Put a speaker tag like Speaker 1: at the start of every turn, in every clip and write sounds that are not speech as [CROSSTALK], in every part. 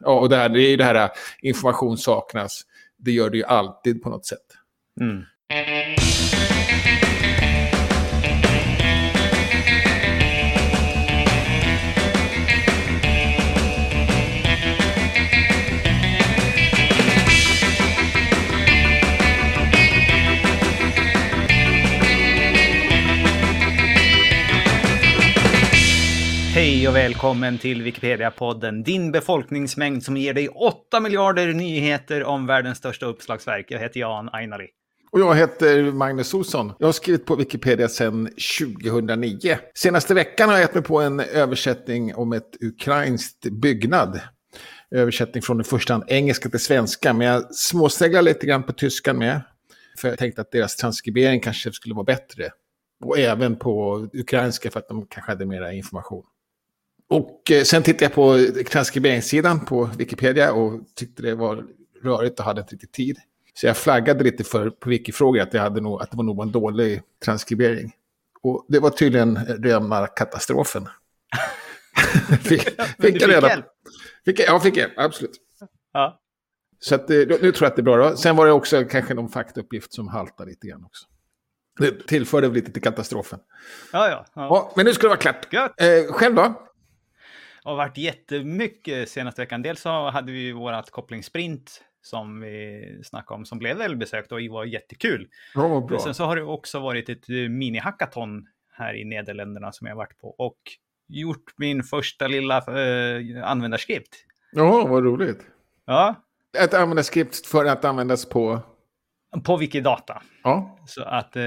Speaker 1: Ja, och det, här, det är ju det här äh, information saknas. Det gör det ju alltid på något sätt.
Speaker 2: Mm. Hej och välkommen till Wikipedia-podden, din befolkningsmängd som ger dig 8 miljarder nyheter om världens största uppslagsverk. Jag heter Jan Ainali.
Speaker 1: Och jag heter Magnus Olsson. Jag har skrivit på Wikipedia sedan 2009. Senaste veckan har jag gett mig på en översättning om ett ukrainskt byggnad. Översättning från i första hand engelska till svenska, men jag småseglar lite grann på tyskan med. För jag tänkte att deras transkribering kanske skulle vara bättre. Och även på ukrainska för att de kanske hade mera information. Och eh, sen tittade jag på transkriberingssidan på Wikipedia och tyckte det var rörigt och hade inte riktigt tid. Så jag flaggade lite för på Wikifrågor att, jag hade nog, att det var nog en dålig transkribering. Och det var tydligen rena
Speaker 2: [LAUGHS]
Speaker 1: katastrofen. fick,
Speaker 2: Men du
Speaker 1: jag reda
Speaker 2: hjälp.
Speaker 1: Fick jag, ja, fick jag. Absolut.
Speaker 2: Ja.
Speaker 1: Så att, eh, nu tror jag att det är bra. Då. Sen var det också kanske någon faktauppgift som haltade lite grann också. Det tillförde väl lite till katastrofen.
Speaker 2: Ja, ja. ja.
Speaker 1: Ja, men nu ska det vara klart.
Speaker 2: Gött.
Speaker 1: Eh, själv då?
Speaker 2: Det har varit jättemycket senaste veckan. Dels så hade vi ju vårat kopplingssprint som vi snackade om som blev välbesökt och var jättekul.
Speaker 1: Ja, vad
Speaker 2: Men Sen så har det också varit ett eh, mini-hackathon här i Nederländerna som jag varit på och gjort min första lilla eh, användarskrift.
Speaker 1: Ja, vad roligt.
Speaker 2: Ja,
Speaker 1: Att använda skript för att användas på...
Speaker 2: på Wikidata.
Speaker 1: Ja.
Speaker 2: Så att eh,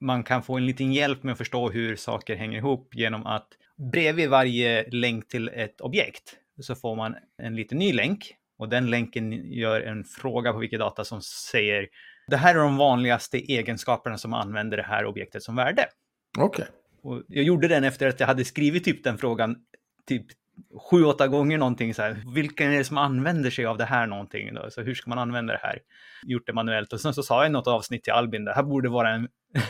Speaker 2: man kan få en liten hjälp med att förstå hur saker hänger ihop genom att bredvid varje länk till ett objekt så får man en liten ny länk och den länken gör en fråga på Wikidata som säger det här är de vanligaste egenskaperna som använder det här objektet som värde.
Speaker 1: Okej.
Speaker 2: Och jag gjorde den efter att jag hade skrivit typ den frågan typ sju, åtta gånger någonting så här. Vilken är det som använder sig av det här någonting då? Så hur ska man använda det här? Gjort det manuellt och sen så sa jag i något avsnitt till Albin, det här borde vara en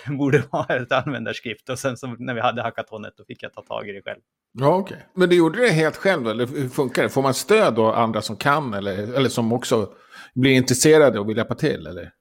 Speaker 2: [LAUGHS] borde vara ett användarskrift och sen så när vi hade hackatonet då fick jag ta tag i det själv.
Speaker 1: Ja, okej. Men du gjorde det helt själv, eller hur funkar det? Får man stöd av andra som kan, eller, eller som också blir intresserade och vill hjälpa till? Eller?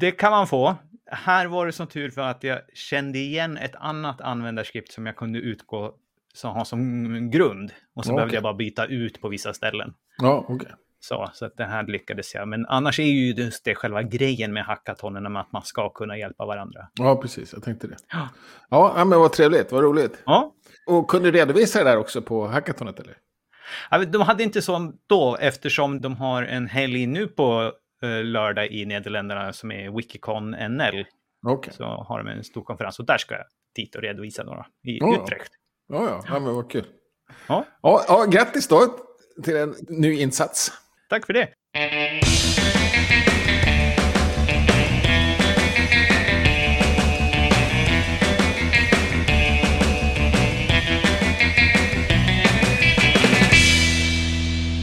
Speaker 2: Det kan man få. Här var det som tur för att jag kände igen ett annat användarskript som jag kunde utgå som ha som grund och så
Speaker 1: Okej.
Speaker 2: behövde jag bara byta ut på vissa ställen.
Speaker 1: Ja, okej.
Speaker 2: Så, så att det här lyckades jag. Men annars är ju just det själva grejen med hackathonen, att man ska kunna hjälpa varandra.
Speaker 1: Ja, precis. Jag tänkte det.
Speaker 2: Ja.
Speaker 1: Ja, ja, men vad trevligt. Vad roligt.
Speaker 2: Ja.
Speaker 1: Och kunde du redovisa det där också på hackathonet, eller?
Speaker 2: Ja, men De hade inte så då, eftersom de har en helg nu på eh, lördag i Nederländerna som är Wikicon NL.
Speaker 1: Okej.
Speaker 2: Så har de en stor konferens och där ska jag dit och redovisa några i
Speaker 1: Ja.
Speaker 2: Utrecht.
Speaker 1: Ja, ja. ja, men vad kul.
Speaker 2: Ja.
Speaker 1: Ja, ja, grattis då till en ny insats.
Speaker 2: Tack för det.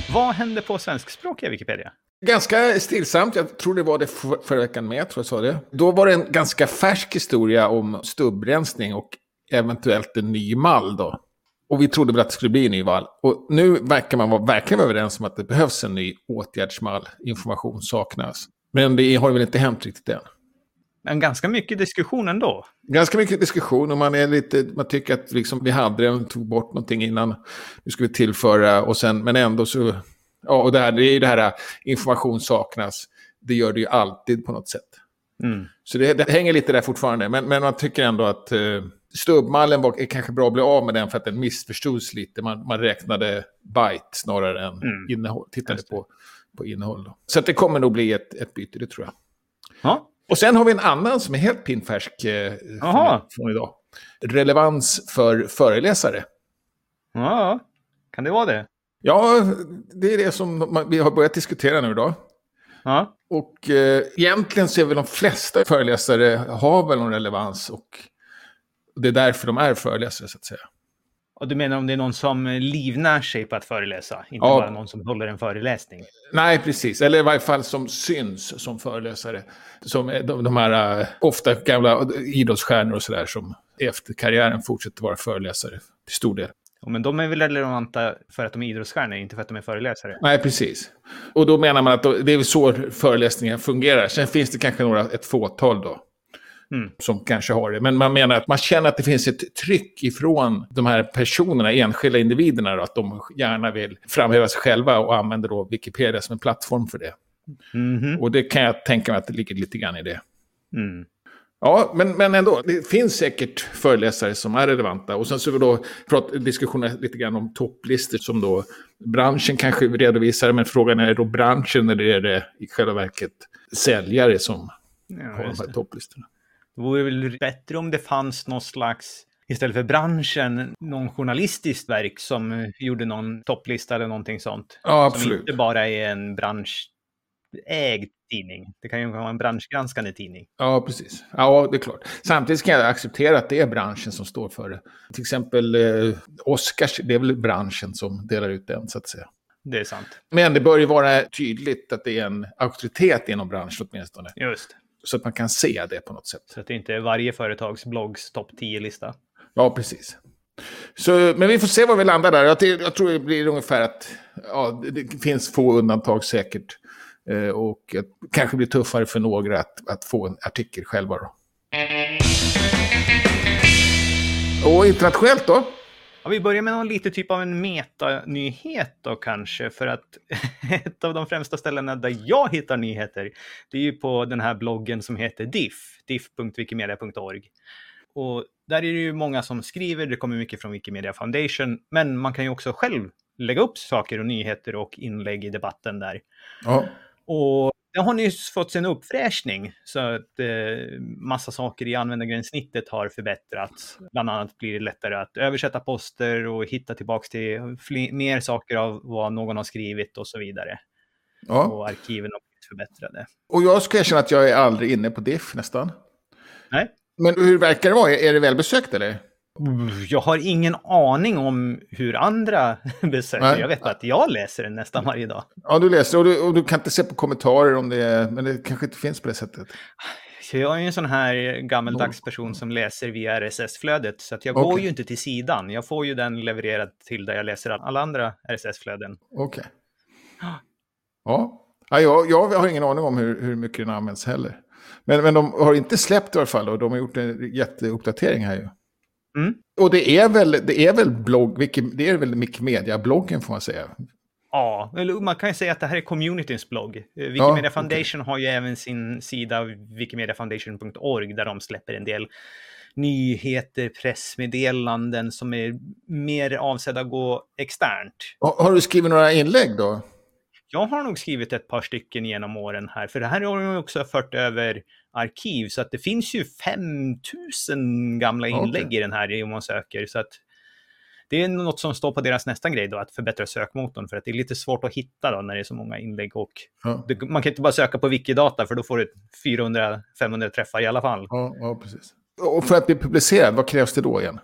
Speaker 2: Vad hände på svenskspråkiga Wikipedia?
Speaker 1: Ganska stillsamt, jag tror det var det för, förra veckan med, jag tror jag sa det. Då var det en ganska färsk historia om stubbrensning och eventuellt en ny mall då. Och vi trodde väl att det skulle bli en ny mall. Och nu verkar man vara verkligen vara överens om att det behövs en ny åtgärdsmall. Information saknas. Men det har väl inte hänt riktigt än.
Speaker 2: Men ganska mycket diskussion ändå.
Speaker 1: Ganska mycket diskussion och man, är lite, man tycker att liksom vi hade den, tog bort någonting innan, nu ska vi tillföra och sen, men ändå så, ja och det, här, det är ju det här information saknas, det gör det ju alltid på något sätt.
Speaker 2: Mm.
Speaker 1: Så det, det hänger lite där fortfarande, men, men man tycker ändå att eh, stubbmallen var är kanske bra att bli av med den för att den missförstods lite, man, man räknade byte snarare än
Speaker 2: Mm.
Speaker 1: innehåll, tittade
Speaker 2: Just det.
Speaker 1: på, på innehåll. Då. Så att det kommer nog bli ett, ett byte, det tror jag.
Speaker 2: Ja.
Speaker 1: Och sen har vi en annan som är helt pinfärsk eh, från,
Speaker 2: Aha.
Speaker 1: från idag. Relevans för föreläsare.
Speaker 2: ja, kan det vara det?
Speaker 1: Ja, det är det som man, vi har börjat diskutera nu då.
Speaker 2: Ja,
Speaker 1: Och eh, egentligen så är väl de flesta föreläsare har väl någon relevans och det är därför de är föreläsare så att säga.
Speaker 2: och du menar om det är någon som livnär sig på att föreläsa, inte
Speaker 1: Ja.
Speaker 2: bara någon som håller en föreläsning?
Speaker 1: Nej, precis. Eller i varje fall som syns som föreläsare. Som är de, de här eh, ofta gamla idrottsstjärnor och sådär som efter karriären fortsätter vara föreläsare till stor del.
Speaker 2: Men de är väl relevanta för att de är idrottsstjärnor, inte för att de är föreläsare.
Speaker 1: Nej, precis. Och då menar man att då- det är väl så föreläsningar fungerar. Sen finns det kanske några, ett fåtal då.
Speaker 2: Mm.
Speaker 1: Som kanske har det. Men man menar att man känner att det finns ett tryck ifrån de här personerna, enskilda individerna, då, att de gärna vill framhäva sig själva och använder då Wikipedia som en plattform för det.
Speaker 2: Mhm.
Speaker 1: Och det kan jag tänka mig att det ligger lite grann i det.
Speaker 2: Mm.
Speaker 1: Ja, men, men ändå. Det finns säkert föreläsare som är relevanta. Och sen så vill då prata diskussioner lite grann om topplistor som då branschen kanske redovisar. Men frågan är då branschen eller är det i själva verket säljare som har
Speaker 2: Ja,
Speaker 1: de
Speaker 2: just
Speaker 1: här
Speaker 2: det.
Speaker 1: topplistorna?
Speaker 2: det vore väl bättre om det fanns någon slags, istället för branschen, någon journalistiskt verk som eh, gjorde någon topplista eller någonting sånt.
Speaker 1: Ja,
Speaker 2: Som
Speaker 1: absolut.
Speaker 2: inte bara är en branschägd tidning. Det kan ju vara en branschgranskande tidning.
Speaker 1: Ja, precis. Ja, det är klart. Samtidigt kan jag acceptera att det är branschen som står för det. Till exempel eh, Oscars, det är väl branschen som delar ut den, så att säga.
Speaker 2: Det är sant.
Speaker 1: Men det bör ju vara tydligt att det är en auktoritet inom branschen åtminstone.
Speaker 2: Just.
Speaker 1: Så att man kan se det på något sätt.
Speaker 2: Så att det inte är varje företags bloggs topp 10-lista.
Speaker 1: Ja, precis. Så, men vi får se var vi landar där. Jag, jag tror det blir ungefär att ja, det- det finns få undantag säkert. Eh, och att, det kanske blir tuffare för några att, att få en artikel själva. Då. Och internationellt då?
Speaker 2: Ja, vi börjar med någon lite typ av en metanyhet då kanske, för att [LAUGHS] ett av de främsta ställena där jag hittar nyheter, det är ju på den här bloggen som heter diff, diff.wikimedia.org. Och där är det ju många som skriver, det kommer mycket från Wikimedia Foundation, men man kan ju också själv lägga upp saker och nyheter och inlägg i debatten där.
Speaker 1: Ja.
Speaker 2: Och det har nyss fått sin uppfräschning så att eh, massa saker i användargränssnittet har förbättrats. Bland annat blir det lättare att översätta poster och hitta tillbaks till fler, mer saker av vad någon har skrivit och så vidare.
Speaker 1: ja.
Speaker 2: Och arkiven har blivit förbättrade.
Speaker 1: Och jag ska erkänna att jag är aldrig inne på diff nästan.
Speaker 2: Nej.
Speaker 1: Men hur verkar det vara? Är det välbesökt eller?
Speaker 2: Jag har ingen aning om hur andra [LAUGHS] besöker.
Speaker 1: Nej.
Speaker 2: Jag vet bara att jag läser den nästan varje dag.
Speaker 1: Ja, du läser och du, och du kan inte se på kommentarer om det är, men det kanske inte finns på det sättet.
Speaker 2: Så jag är ju en sån här gammeldags person som läser via RSS-flödet, så att jag går
Speaker 1: Okej.
Speaker 2: ju inte till sidan. Jag får ju den levererad till där jag läser alla andra RSS-flöden.
Speaker 1: Okej. Ja. ja jag, jag har ingen aning om hur, hur mycket den används heller. Men, men de har inte släppt i alla fall och de har gjort en jätteuppdatering här ju.
Speaker 2: Mm.
Speaker 1: Och det är väl, det är väl blogg, Wiki- det är väl Wikimedia-bloggen får man säga.
Speaker 2: Ja, eller man kan ju säga att det här är communityns blogg. Eh, Wikimedia
Speaker 1: okej.
Speaker 2: Foundation har ju även sin sida wikimediafoundation.org där de släpper en del nyheter, pressmeddelanden som är mer avsedda att gå externt.
Speaker 1: Har, har du skrivit några inlägg då?
Speaker 2: Jag har nog skrivit ett par stycken genom åren här, för det här har de ju också fört över arkiv, så att det finns ju 5000 gamla
Speaker 1: Okej.
Speaker 2: inlägg i den här om man söker. Så att det är något som står på deras nästa grej då, att förbättra sökmotorn, för att det är lite svårt att hitta då när det är så många inlägg. Och
Speaker 1: Ja,
Speaker 2: det, man kan inte bara söka på Wikidata, för då får du 400-500 träffar i alla fall.
Speaker 1: ja, ja precis. Och för att bli publicerad, vad krävs det då igen?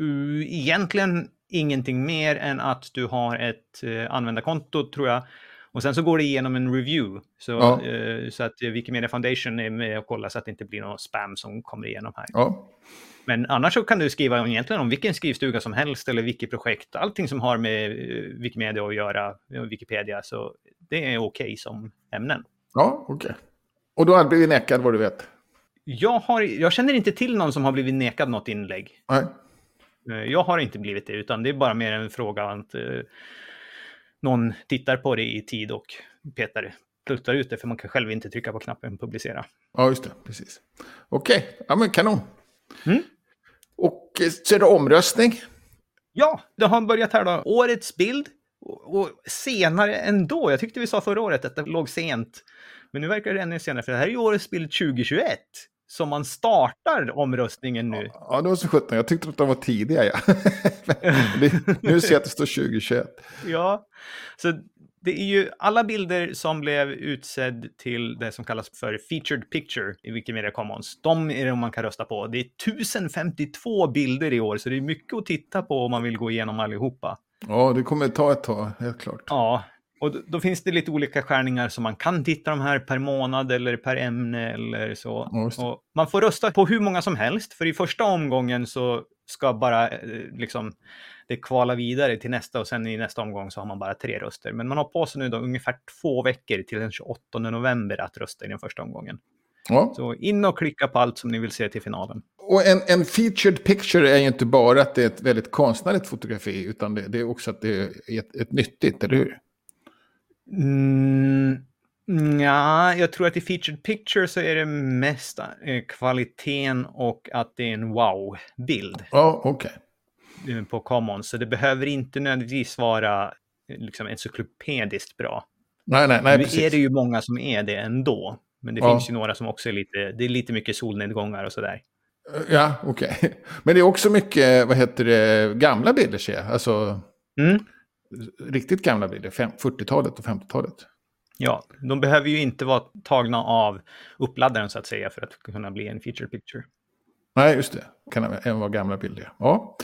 Speaker 2: Uh, egentligen ingenting mer än att du har ett eh, användarkonto tror jag. Och sen så går det igenom en review. Så,
Speaker 1: Ja.
Speaker 2: eh, så att eh, Wikimedia Foundation är med och kollar så att det inte blir någon spam som kommer igenom här.
Speaker 1: Ja,
Speaker 2: Men annars så kan du skriva om- egentligen om vilken skrivstuga som helst eller vilket projekt. Allting som har med eh, Wikimedia att göra, eh, Wikipedia, så det är okej som ämnen.
Speaker 1: ja okej. Och då har du blivit nekad vad du vet?
Speaker 2: Jag, har, jag känner inte till någon som har blivit nekad något inlägg.
Speaker 1: Nej.
Speaker 2: Eh, Jag har inte blivit det, utan det är bara mer en fråga att eh, någon tittar på det i tid och petar, pluttar ut det, för man kan själv inte trycka på knappen publicera.
Speaker 1: Ja, just det. Precis. Okej, ja, men kanon.
Speaker 2: Mm.
Speaker 1: Och eh, så är det omröstning.
Speaker 2: Ja, det har börjat här då. Årets bild och, och senare ändå. Jag tyckte vi sa förra året att det låg sent, men nu verkar det ännu senare, för det här är ju årets bild 2021 som man startar omröstningen nu.
Speaker 1: Ja, det var så 17. Jag tyckte att de var tidiga. Ja. [LAUGHS] Men det, nu ser jag att det står 2021.
Speaker 2: Ja, så det är ju alla bilder som blev utsedd till det som kallas för featured picture i Wikimedia Commons. De är de man kan rösta på. Det är 1052 bilder i år, så det är mycket att titta på om man vill gå igenom allihopa.
Speaker 1: Ja, det kommer ta ett tag, helt klart.
Speaker 2: Ja, och då- då finns det lite olika skärningar som man kan titta de här per månad eller per ämne eller så.
Speaker 1: Ja, just det.
Speaker 2: Och man får rösta på hur många som helst, för i första omgången så ska bara eh, liksom, det kvalar vidare till nästa och sen i nästa omgång så har man bara tre röster. Men man har på sig nu då ungefär två veckor till den 28 november att rösta i den första omgången.
Speaker 1: Ja.
Speaker 2: Så in och klicka på allt som ni vill se till finalen.
Speaker 1: Och en, en featured picture är ju inte bara att det är ett väldigt konstnärligt fotografi, utan det, det är också att det är ett, ett nyttigt, eller hur?
Speaker 2: Mm, ja, jag tror att i featured picture så är det mest eh, kvaliteten och att det är en wow-bild
Speaker 1: Ja, okej.
Speaker 2: eh, på commons. Så det behöver inte nödvändigtvis vara eh, liksom encyklopediskt bra.
Speaker 1: Nej, nej, nej,
Speaker 2: nu
Speaker 1: precis.
Speaker 2: är det ju många som är det ändå. Men det
Speaker 1: Ja.
Speaker 2: finns ju några som också är lite, det är lite mycket solnedgångar och sådär.
Speaker 1: Ja, okej. Men det är också mycket, vad heter det, gamla bilder ser jag. Alltså
Speaker 2: Mm.
Speaker 1: riktigt gamla bilder, fem- 40-talet och 50-talet.
Speaker 2: Ja, de behöver ju inte vara tagna av uppladdaren så att säga för att kunna bli en feature picture.
Speaker 1: Nej, just det. Kan även vara gamla bilder. Ja.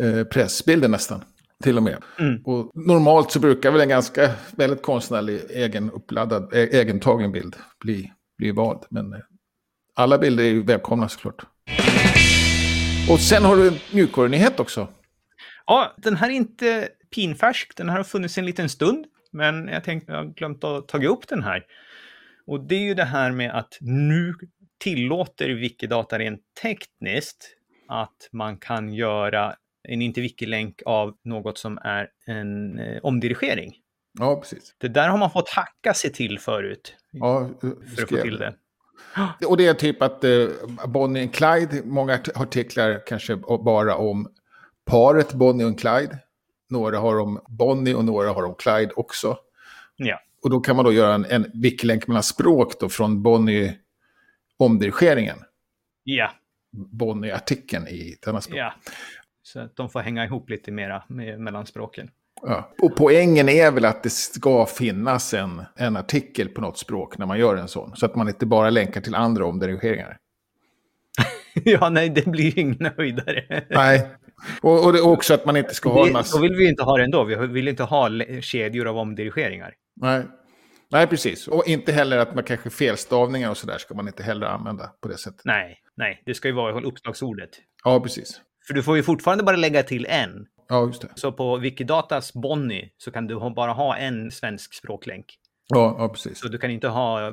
Speaker 1: Eh, pressbilder nästan, till och med.
Speaker 2: Mm.
Speaker 1: Och normalt så brukar väl en ganska väldigt konstnärlig egen uppladdad, e- egentagen bild bli, bli vald. Men eh, alla bilder är ju välkomna såklart. Och sen har du en mjukvarunyhet också.
Speaker 2: Ja, den här är inte pinfärsk. Den här har funnits en liten stund, men jag tänkte jag har glömt att ta upp den här. Och det är ju det här med att nu tillåter Wikidata rent tekniskt att man kan göra en inte wiki-länk av något som är en eh, omdirigering.
Speaker 1: Ja, precis.
Speaker 2: Det där har man fått hacka sig till förut
Speaker 1: Ja, eh,
Speaker 2: för att få
Speaker 1: skrev
Speaker 2: till det.
Speaker 1: Och det är typ att eh, Bonnie och Clyde, många art- artiklar kanske bara om paret Bonnie och Clyde. Några har om Bonnie och några har om Clyde också.
Speaker 2: Ja.
Speaker 1: Och då kan man då göra en, en wiki-länk mellan språk då från Bonnie omdirigeringen,
Speaker 2: ja,
Speaker 1: Bonnie-artikeln i denna språk.
Speaker 2: ja. Så att de får hänga ihop lite mera med, mellan språken.
Speaker 1: Ja. Och poängen är väl att det ska finnas en, en artikel på något språk när man gör en sån. Så att man inte bara länkar till andra
Speaker 2: [LAUGHS]
Speaker 1: omdirigeringar.
Speaker 2: [LAUGHS] ja, nej, det blir ju ingen höjdare.
Speaker 1: Nej. Och, och det är också att man inte ska ha en
Speaker 2: Det,
Speaker 1: massa...
Speaker 2: då vill vi ju inte ha det ändå. Vi vill inte ha le- kedjor av omdirigeringar.
Speaker 1: Nej. Nej, precis. Och inte heller att man kanske felstavningar och sådär ska man inte heller använda på det sättet.
Speaker 2: Nej, nej, det ska ju vara uppslagsordet.
Speaker 1: Ja, precis.
Speaker 2: För du får ju fortfarande bara lägga till en.
Speaker 1: Ja, just det.
Speaker 2: Så på Wikidatas Bonnie så kan du ha- bara ha en svensk språklänk.
Speaker 1: Ja, ja precis.
Speaker 2: Så du kan inte ha eh,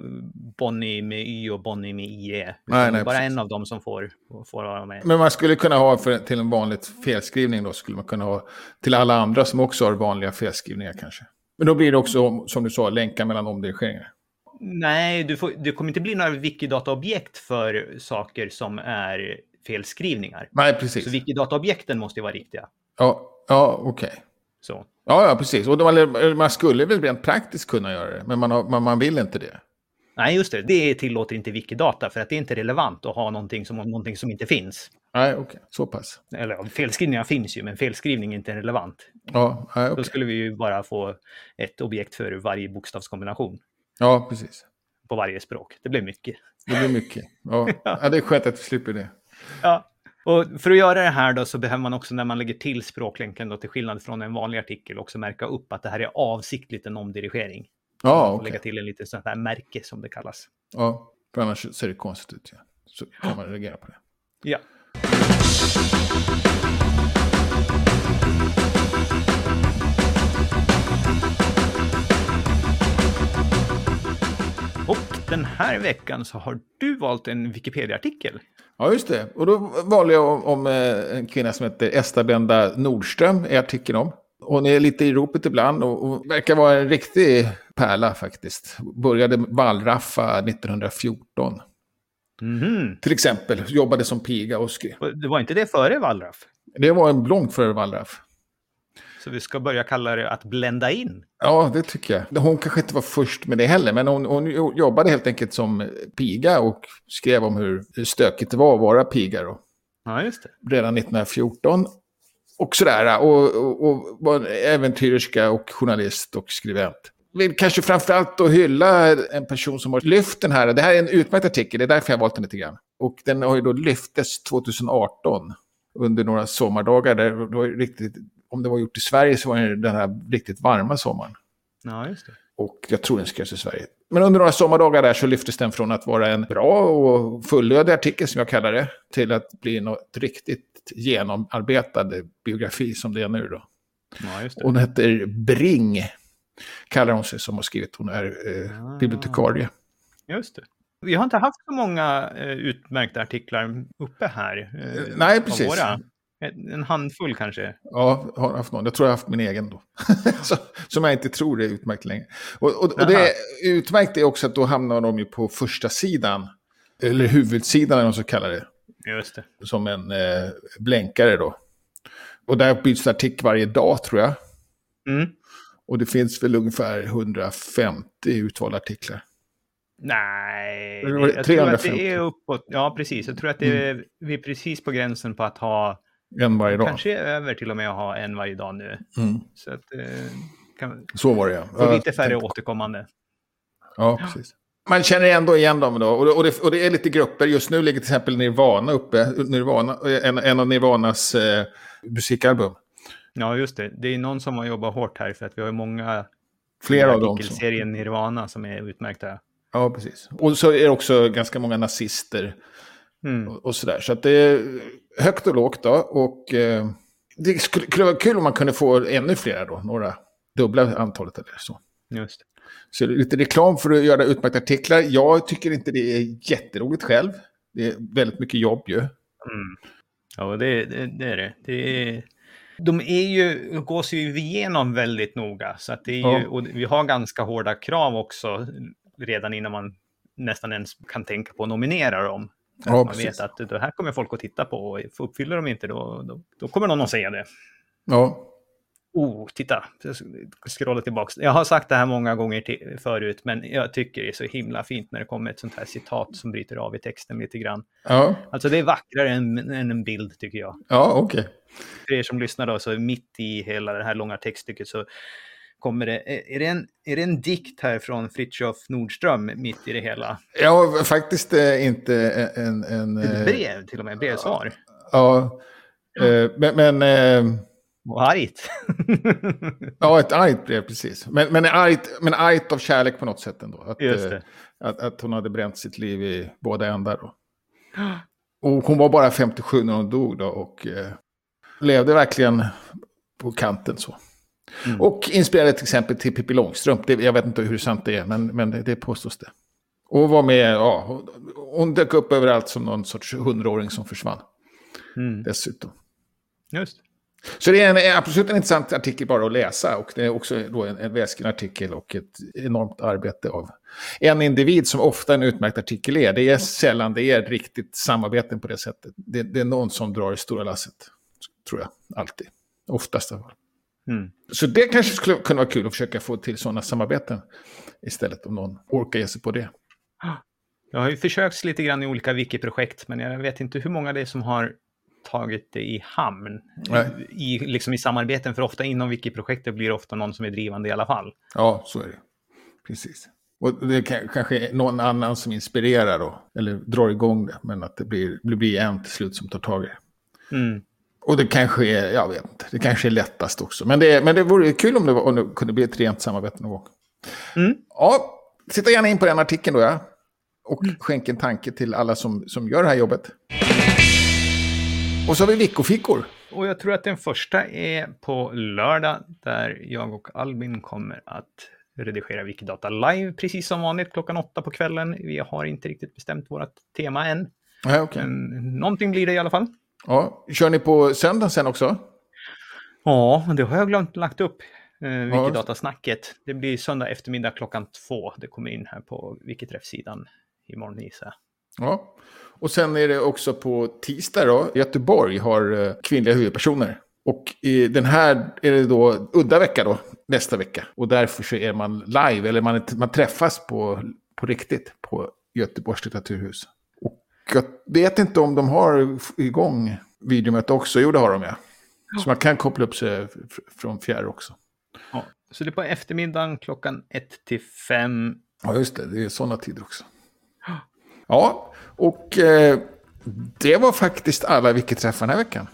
Speaker 2: Bonnie med Y och Bonnie med IE. utan
Speaker 1: Nej, nej,
Speaker 2: bara
Speaker 1: precis.
Speaker 2: en av dem som får, får vara med.
Speaker 1: Men man skulle kunna ha för, till en vanlig felskrivning då, skulle man kunna ha till alla andra som också har vanliga felskrivningar kanske. Men då blir det också, om- som du sa, länkar mellan omdirigeringar.
Speaker 2: Nej, du får, det kommer inte bli några Wikidata-objekt för saker som är felskrivningar.
Speaker 1: Nej,
Speaker 2: Så
Speaker 1: precis.
Speaker 2: Wikidata-objekten måste ju vara riktiga.
Speaker 1: Ja, ja okej.
Speaker 2: Så.
Speaker 1: Ja, ja, precis. Och då, eller, man skulle väl rent praktiskt kunna göra det, men man, har, man, man vill inte det.
Speaker 2: Nej, just det. Det tillåter inte Wikidata för att det är inte relevant att ha någonting som, någonting som inte finns.
Speaker 1: Nej, okej. Så pass.
Speaker 2: Eller ja, felskrivningar finns ju, men felskrivning är inte relevant.
Speaker 1: Ja, nej,
Speaker 2: Då
Speaker 1: okej.
Speaker 2: skulle vi ju bara få ett objekt för varje bokstavskombination
Speaker 1: ja precis.
Speaker 2: på varje språk. Det blir mycket.
Speaker 1: Det blir mycket. Ja, [LAUGHS] ja det är skönt att vi slipper det.
Speaker 2: Ja. Och för att göra det här då så behöver man också när man lägger till språklänken då till skillnad från en vanlig artikel också märka upp att det här är avsiktligt en omdirigering.
Speaker 1: Ja,
Speaker 2: Och
Speaker 1: okej.
Speaker 2: lägga till en liten sån här märke som det kallas.
Speaker 1: Ja, för annars ser det konstigt ut. Ja. Så kan man reagera på det.
Speaker 2: Ja. Och den här veckan så har du valt en Wikipedia-artikel.
Speaker 1: Ja, just det. Och då valde jag om, om eh, en kvinna som heter Esta Benda Nordström i artikeln om. Hon är lite i ropet ibland och, och verkar vara en riktig pärla faktiskt. Började wallraffa 1914
Speaker 2: Mhm.
Speaker 1: till exempel. Jobbade som piga och skrev.
Speaker 2: Och Det var inte det före wallraff?
Speaker 1: Det var en långt före wallraff.
Speaker 2: Så vi ska börja kalla det att blända in.
Speaker 1: Ja, det tycker jag. Hon kanske inte var först med det heller, men hon, hon jo- jobbade helt enkelt som piga och skrev om hur stökigt det var att vara piga då,
Speaker 2: Ja, just det.
Speaker 1: redan 1914. Och sådär, och, och, och var en äventyrerska och journalist och skribent. Vill kanske framförallt att hylla en person som har lyft den här. Det här är en utmärkt artikel, det är därför jag har valt den lite grann. Och den har ju då lyftes 2018 under några sommardagar. Där det var ju riktigt, om det var gjort i Sverige så var det den här riktigt varma sommaren.
Speaker 2: Ja, just det.
Speaker 1: Och jag tror den skrevs i Sverige. Men under några sommardagar där så lyftes den från att vara en bra och fullödig artikel, som jag kallar det, till att bli något riktigt genomarbetad biografi som det är nu då.
Speaker 2: Ja, just det.
Speaker 1: Hon heter Bring, kallar hon sig som har skrivit. Hon är eh,
Speaker 2: Ah.
Speaker 1: bibliotekarie.
Speaker 2: Just det. Vi har inte haft så många eh, utmärkta artiklar uppe här. eh,
Speaker 1: Nej,
Speaker 2: av
Speaker 1: precis.
Speaker 2: våra. En en handfull kanske.
Speaker 1: Ja, har haft någon. Jag tror jag har haft min egen då. [LAUGHS] Så- som jag inte tror är utmärkt längre. Och, och, och
Speaker 2: Aha.
Speaker 1: det utmärkt är också att då hamnar de ju på första sidan. Eller huvudsidan eller vad de så kallar det.
Speaker 2: Just det.
Speaker 1: Som en eh, blänkare då. Och där byts det artikel varje dag tror jag.
Speaker 2: Mm.
Speaker 1: Och det finns väl ungefär 150 utvalda artiklar.
Speaker 2: Nej,
Speaker 1: Eller var det
Speaker 2: jag tror att
Speaker 1: 350?
Speaker 2: det är uppåt. Ja, precis. Jag tror att det är, vi är precis på gränsen på att ha,
Speaker 1: En varje dag.
Speaker 2: kanske över till och med att ha en varje dag nu.
Speaker 1: Mm.
Speaker 2: Så att eh, kan
Speaker 1: Så var det ja.
Speaker 2: få
Speaker 1: Jag
Speaker 2: lite färre
Speaker 1: tänkte-
Speaker 2: återkommande.
Speaker 1: Ja, precis. Man känner ändå igen dem då. Och det, och det, och det är lite grupper. Just nu ligger till exempel Nirvana uppe. Nirvana, en, en av Nirvanas eh, musikalbum.
Speaker 2: Ja, just det. Det är någon som har jobbat hårt här för att vi har ju många
Speaker 1: Flera av dem. som-
Speaker 2: artikelserien Nirvana som är utmärkta.
Speaker 1: Ja, precis. Och så är det också ganska många nazister
Speaker 2: Mm.
Speaker 1: och, och sådär. Så att det är högt och lågt då. Och eh, det skulle, skulle vara kul om man kunde få ännu fler då. Några dubbla antalet eller så.
Speaker 2: Just det.
Speaker 1: Så det är lite reklam för att göra utmärkta artiklar. Jag tycker inte det är jätteroligt själv. Det är väldigt mycket jobb ju.
Speaker 2: Mm. Ja, det, det, det är det. det är... De är ju, gås ju igenom väldigt noga, så att det är ju,
Speaker 1: Ja.
Speaker 2: och vi har ganska hårda krav också redan innan man nästan ens kan tänka på att nominera dem.
Speaker 1: Ja,
Speaker 2: man
Speaker 1: precis.
Speaker 2: vet att det här kommer folk att titta på och uppfyller de inte då, då, då kommer någon att säga det.
Speaker 1: Ja,
Speaker 2: Oh, titta, jag scrollar tillbaks. Jag har sagt det här många gånger till, förut, men jag tycker det är så himla fint när det kommer ett sånt här citat som bryter av i texten lite grann.
Speaker 1: ja.
Speaker 2: Alltså det är vackrare än, än en bild tycker jag.
Speaker 1: Ja, okej.
Speaker 2: För er som lyssnar då, så mitt i hela det här långa textstycket så kommer det, är- är det en, är det en dikt här från Fritiof Nordström mitt i det hela?
Speaker 1: Ja, faktiskt eh, inte en... en eh,
Speaker 2: Ett brev till och med, brevsvar.
Speaker 1: Ja, eh, men... men eh,
Speaker 2: Och argt. [LAUGHS]
Speaker 1: ja, ett argt brev, precis. Men, men, argt, men argt av kärlek på något sätt ändå. Att,
Speaker 2: Just
Speaker 1: eh,
Speaker 2: det.
Speaker 1: Att, att hon hade bränt sitt liv i båda ändar. Då. Och hon var bara 57 när hon dog då och eh, levde verkligen på kanten så.
Speaker 2: Mm.
Speaker 1: Och inspirerade till exempel till Pippi Långstrump. Det, jag vet inte hur sant det är, men, men det, det påstås det. Och hon var med, ja, hon, hon dök upp överallt som någon sorts hundraåring som försvann
Speaker 2: Mm,
Speaker 1: dessutom.
Speaker 2: just.
Speaker 1: Så det är en, en absolut en intressant artikel bara att läsa och det är också då en, en välskriven artikel och ett enormt arbete av en individ som ofta en utmärkt artikel är. Det är sällan det är riktigt samarbeten på det sättet. Det, det är någon som drar det stora lasset, tror jag, alltid. Oftast i alla fall.
Speaker 2: Mm.
Speaker 1: Så det kanske skulle kunna vara kul att försöka få till sådana samarbeten istället om någon orkar ge sig på det.
Speaker 2: Jag har ju försökt lite grann i olika wiki-projekt, men jag vet inte hur många det är som har tagit det i hamn.
Speaker 1: Nej.
Speaker 2: I, liksom i samarbeten, för ofta inom wiki-projektet blir det ofta någon som är drivande i alla fall.
Speaker 1: Ja, så är det. Precis. Och det kan, kanske är någon annan som inspirerar då, eller drar igång det, men att det blir, det blir en till slut som tar tag i det.
Speaker 2: Mm.
Speaker 1: Och det kanske är, jag vet inte, det kanske är lättast också. Men det, men det vore ju kul om det, var, om det kunde bli ett rent samarbete någon gång.
Speaker 2: Mm.
Speaker 1: Ja, titta gärna in på den artikeln då, ja. Och skänk en tanke till alla som, som gör det här jobbet. Och så har vi veckofickor.
Speaker 2: Och jag tror att den första är på lördag där jag och Albin kommer att redigera Wikidata live precis som vanligt klockan åtta på kvällen. Vi har inte riktigt bestämt vårt tema än.
Speaker 1: Ja, okay.
Speaker 2: Men någonting blir det i alla fall.
Speaker 1: ja, kör ni på söndagen sen också?
Speaker 2: Ja, det har jag glömt lagt upp. Eh,
Speaker 1: Ja.
Speaker 2: Wikidatasnacket. Det blir söndag eftermiddag klockan två. Det kommer in här på Wikiträffsidan imorgon gissar jag.
Speaker 1: Ja. Och sen är det också på tisdag då, Göteborg har eh, kvinnliga huvudpersoner. Och i den här är det då udda vecka då, nästa vecka. Och därför så är man live, eller man, man träffas på, på riktigt på Göteborgs litteraturhus. Och jag vet inte om de har f- igång videomöte också. Jo, det har de ja. Så man kan koppla upp sig f- f- från fjärr också.
Speaker 2: Ja. Så det är på eftermiddagen klockan ett till fem.
Speaker 1: Ja, just det. Det är sådana tider också. Ja, och eh, det var faktiskt alla Wiki-träffar den här veckan.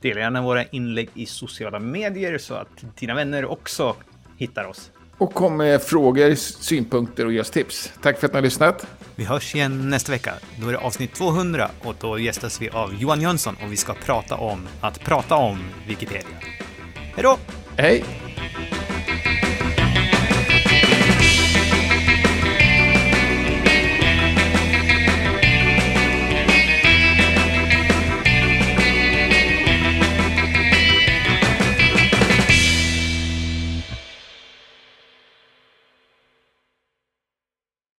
Speaker 2: Dela gärna våra inlägg i sociala medier så att dina vänner också hittar oss.
Speaker 1: och kom med frågor, synpunkter och ge oss tips. Tack för att ni har lyssnat.
Speaker 2: Vi hörs igen nästa vecka. Då är det avsnitt 200 och då gästas vi av Johan Jönsson och vi ska prata om att prata om Wikipedia. Hej då!
Speaker 1: Hej!